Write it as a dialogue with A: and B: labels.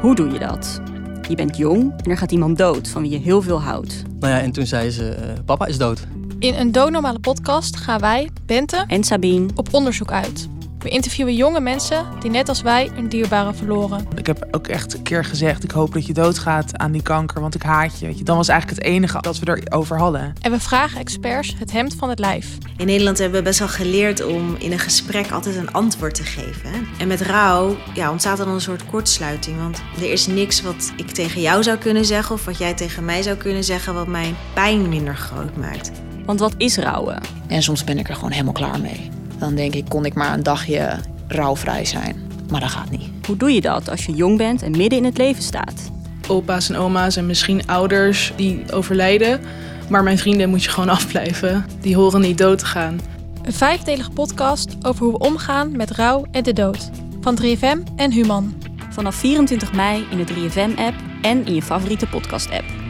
A: Hoe doe je dat? Je bent jong en er gaat iemand dood van wie je heel veel houdt.
B: Nou ja, en toen zei ze, eh, papa is dood.
C: In een doodnormale podcast gaan wij, Bente,
A: En Sabine,
C: op onderzoek uit. We interviewen jonge mensen die net als wij een dierbare verloren.
D: Ik heb ook echt een keer gezegd: ik hoop dat je doodgaat aan die kanker, want ik haat je. Weet je. Dan was eigenlijk het enige dat we erover hadden.
C: En we vragen experts het hemd van het lijf.
E: In Nederland hebben we best wel geleerd om in een gesprek altijd een antwoord te geven. En met rouw ja, ontstaat er dan een soort kortsluiting. Want er is niks wat ik tegen jou zou kunnen zeggen of wat jij tegen mij zou kunnen zeggen wat mijn pijn minder groot maakt.
A: want wat is rouwen?
F: En soms ben ik er gewoon helemaal klaar mee. Dan denk ik, kon ik maar een dagje rouwvrij zijn. Maar dat gaat niet.
A: Hoe doe je dat als je jong bent en midden in het leven staat?
G: opa's en oma's en misschien ouders die overlijden. Maar mijn vrienden moet je gewoon afblijven. Die horen niet dood te gaan.
C: Een vijfdelige podcast over hoe we omgaan met rouw en de dood. Van 3FM en Human.
A: Vanaf 24 mei in de 3FM-app en in je favoriete podcast-app.